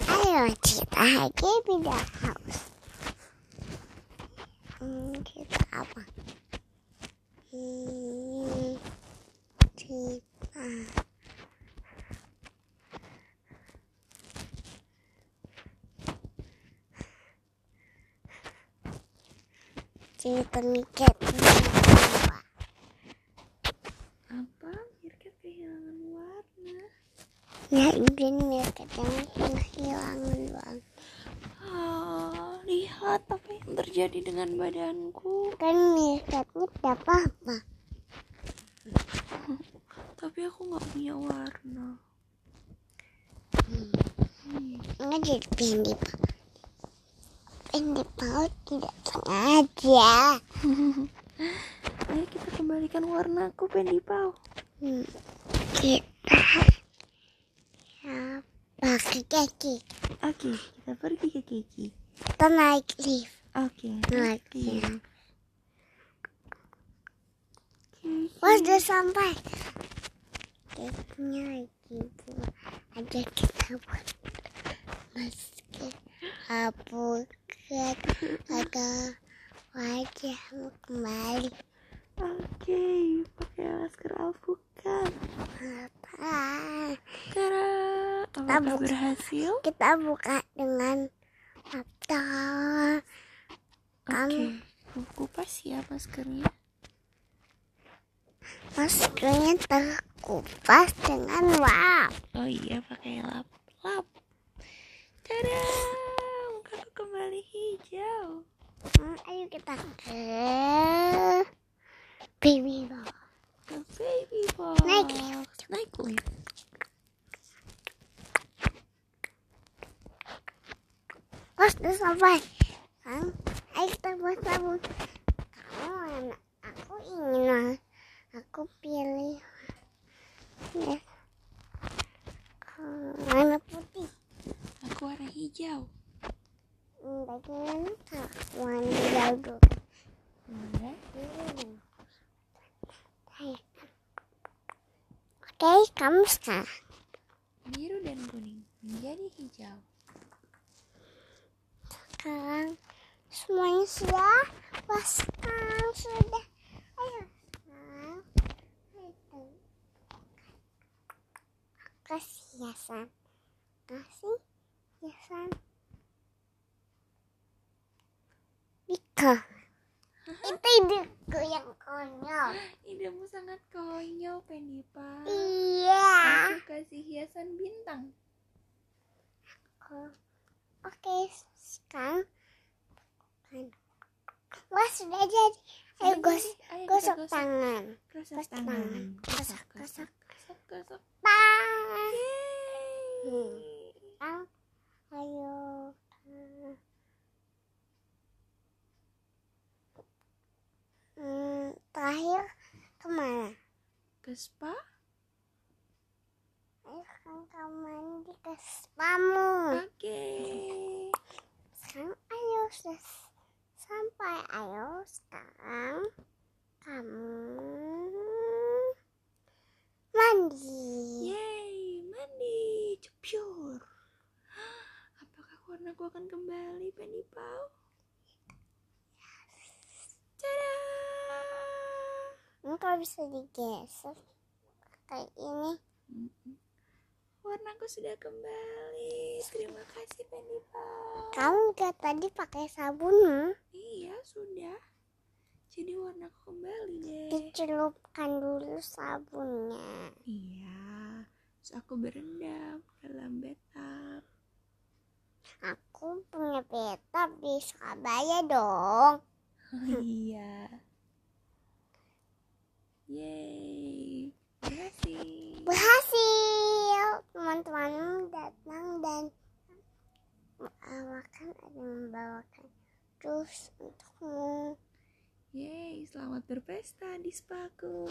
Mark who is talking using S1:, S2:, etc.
S1: kita lagi pindah house. Hmm, kita apa? Hmm, kita cerita mikir
S2: Apa? Mirkat kehilangan warna.
S1: ya izin mikir yang kehilangan uang
S2: Ah, lihat apa yang terjadi dengan badanku.
S1: kan mikirnya tidak apa
S2: Tapi aku nggak punya warna.
S1: Enggak jadi pendek Pendek paut tidak sengaja
S2: Ayo kita kembalikan warnaku, Pendipau.
S1: Hmm, Kita ya, pakai kaki
S2: Oke, kita pergi ke Kiki.
S1: Kita naik lift
S2: Oke.
S1: Naik
S2: Kiki.
S1: lift
S2: Kiki.
S1: Wah sudah Oh, sampai Kayaknya lagi Bu. Ada kita buat Masker Apukat kan. Ada wajahmu kembali
S2: Oke, pakai masker alpukat.
S1: Apa
S2: Tara, apakah
S1: Tabuk.
S2: berhasil?
S1: kita buka dengan laptop
S2: Oke.
S1: Am.
S2: Kupas ya maskernya.
S1: maskernya terkupas dengan lap
S2: Oh iya, pakai lap lap. Tada, mukaku kembali hijau.
S1: Hmm, ayo kita ke baby doll
S2: The baby box.
S1: Naik lift.
S2: Naik lift.
S1: pas udah sampai kan ayo kita buat sabun kamu mana aku ingin mana aku pilih ya Hmm, warna putih
S2: Aku warna hijau.
S1: Hmm, bagaimana kalau warna hijau dulu? Hmm. Oke, kamu sekarang.
S2: Biru dan kuning menjadi hijau.
S1: Sekarang semuanya sudah pasang sudah. Ayo. Sekarang itu. Kasih hiasan. Kasih hiasan. Ika. Itu ideku yang konyol.
S2: Idemu sangat konyol, Pendipa.
S1: Iya.
S2: Aku kasih hiasan bintang.
S1: Oh, Oke, sekarang kan. Wah, sudah jadi. Ayo gos
S2: Ayo kita
S1: gosok tangan.
S2: Gosok
S1: Gosok
S2: tangan.
S1: tangan. Gosok,
S2: Gosok, gosok, gosok.
S1: Bang.
S2: Yeay.
S1: Hmm. Bang. Ayo. Hmm, terakhir kemana?
S2: Ke spa?
S1: Ayo kan kamu mandi ke spamu.
S2: Oke.
S1: Sekarang ayo sudah s- sampai ayo sekarang kamu
S2: Iya.
S1: mandi.
S2: Yeay, mandi, cepyur. Apakah warnaku akan kembali, Penny Pau? Tada!
S1: Ini kalau bisa digeser kayak ini.
S2: Warnaku sudah kembali. Terima kasih, Penny Pau.
S1: Kamu nggak tadi pakai sabun
S2: Iya, sudah. Jadi warnaku kembali deh.
S1: dicelupkan dulu sabunnya.
S2: Iya. Terus aku berendam dalam bathtub.
S1: Aku punya peta di Surabaya dong.
S2: Oh, iya. Yeay. Berhasil.
S1: Berhasil. Teman-teman datang dan membawakan ada yang membawakan jus untukmu.
S2: Yeay, selamat berpesta di spaku.